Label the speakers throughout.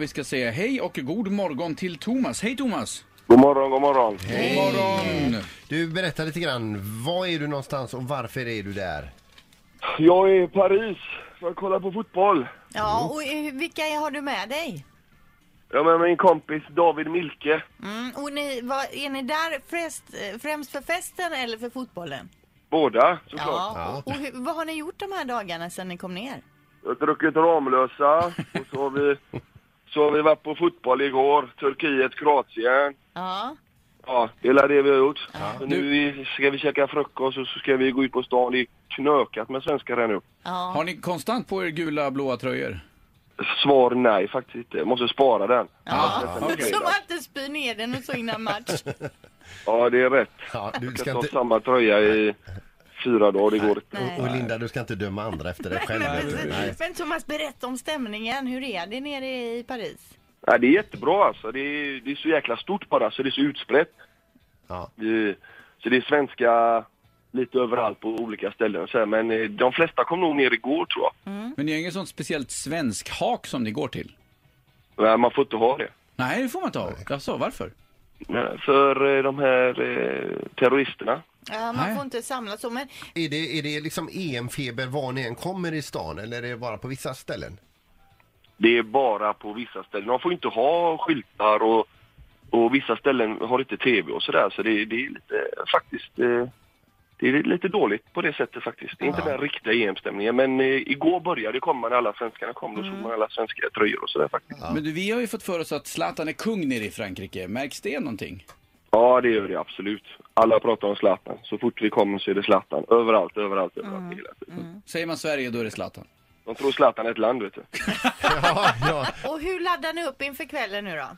Speaker 1: Vi ska säga hej och god morgon till Thomas. Hej Thomas!
Speaker 2: God morgon, god morgon.
Speaker 1: God morgon!
Speaker 3: Du, berätta lite grann. Var är du någonstans och varför är du där?
Speaker 2: Jag är i Paris för att kolla på fotboll.
Speaker 4: Ja, och eh, vilka har du med dig?
Speaker 2: Jag är med min kompis David Milke.
Speaker 4: Mm, och ni, vad, är ni där främst, eh, främst för festen eller för fotbollen?
Speaker 2: Båda, såklart.
Speaker 4: Och, och hur, vad har ni gjort de här dagarna sedan ni kom ner?
Speaker 2: Jag har druckit Ramlösa och så har vi, så har vi varit på fotboll igår. Turkiet, Kroatien.
Speaker 4: Ja,
Speaker 2: Ja, det är det vi har gjort. Så nu vi- ska vi käka frukost och så ska vi gå ut på stan. Det är knökat med svenskar här nu.
Speaker 4: ja,
Speaker 1: Har ni konstant på er gula blåa tröjor?
Speaker 2: Svar nej, faktiskt inte. Jag måste spara den.
Speaker 4: ja.
Speaker 1: okej.
Speaker 4: Som alltid spyr ner den och så innan match.
Speaker 2: Ja, det är rätt.
Speaker 3: Ja, du
Speaker 2: Jag ska
Speaker 3: ska
Speaker 2: ha
Speaker 3: inte...
Speaker 2: samma tröja i fyra dagar. Det går inte.
Speaker 3: Och, och Linda, du ska inte döma andra efter dig själv.
Speaker 4: Men,
Speaker 3: eller hur?
Speaker 4: precis. men Thomas, berätta om stämningen. Hur är det nere i Paris?
Speaker 2: Nej, det är jättebra alltså. Det är, det är så jäkla stort bara, så det är så utspritt.
Speaker 3: Ja.
Speaker 2: Det- Så det är svenska lite överallt på olika ställen och så här. Men eh, de flesta kom nog ner igår tror jag.
Speaker 1: Men ni har ingen sån speciellt svensk hak som ni går till?
Speaker 2: Nej, man får inte ha det.
Speaker 1: Nej, det får man inte ha. Jaså, varför?
Speaker 2: Nej, För eh, de här eh, terroristerna.
Speaker 4: Ja, man
Speaker 1: Nej.
Speaker 4: får inte samlas så, men
Speaker 3: Är det, är det liksom EM-feber var ni än kommer i stan eller är det bara på vissa ställen?
Speaker 2: Det är bara på vissa ställen. De får inte ha skyltar och, och vissa ställen har inte tv och sådär. Så det, det är lite faktiskt... eh, Det är lite dåligt på det sättet faktiskt. Det är inte den riktiga EM-stämningen. Men eh, igår började det komma när alla svenskarna kom. Då såg man alla svenska tröjor och sådär faktiskt.
Speaker 1: Men du, vi har ju fått för oss att Zlatan är kung nere i Frankrike. Märks det någonting?
Speaker 2: Ja, det gör det absolut. Alla pratar om Zlatan. Så fort vi kommer så är det Zlatan. Överallt, överallt, överallt. Hela tiden.
Speaker 1: Säger man Sverige, då är det Zlatan.
Speaker 2: De tror Zlatan är ett land, vet du.
Speaker 3: Ja, ja.
Speaker 4: Och hur laddar ni upp inför kvällen nu då?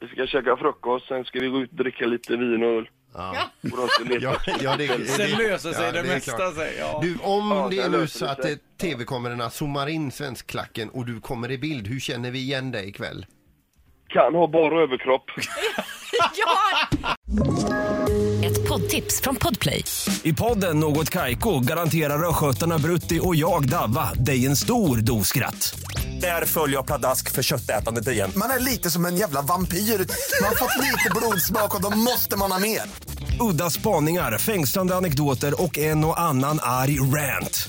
Speaker 2: Vi ska käka frukost, sen ska vi gå ut och dricka lite vin och öl.
Speaker 3: Ja.
Speaker 2: Och då ska vi leta.
Speaker 3: Ja, ja, det, det,
Speaker 1: Sen löser sig
Speaker 3: ja,
Speaker 1: det,
Speaker 3: är
Speaker 1: mesta.
Speaker 3: klart.
Speaker 1: Sig, ja.
Speaker 3: Du, om
Speaker 2: Ja,
Speaker 3: det
Speaker 2: sen
Speaker 3: är nu
Speaker 2: löser
Speaker 3: så
Speaker 2: det
Speaker 3: att
Speaker 2: sig.
Speaker 3: eh, tv-kamerorna zoomar in svenskklacken och du kommer i bild, hur känner vi igen dig ikväll?
Speaker 2: Kan ha bara överkropp.
Speaker 4: Ja,
Speaker 5: Ett poddtips från Podplay.
Speaker 6: I podden Något Kaiko garanterar östgötarna Brutti och jag, Davva, dig en stor dos skratt. Där följer jag pladask för köttätandet igen.
Speaker 7: Man är lite som en jävla vampyr. Man har fått lite blodsmak och då måste man ha mer.
Speaker 6: Udda spaningar, fängslande anekdoter och en och annan arg rant.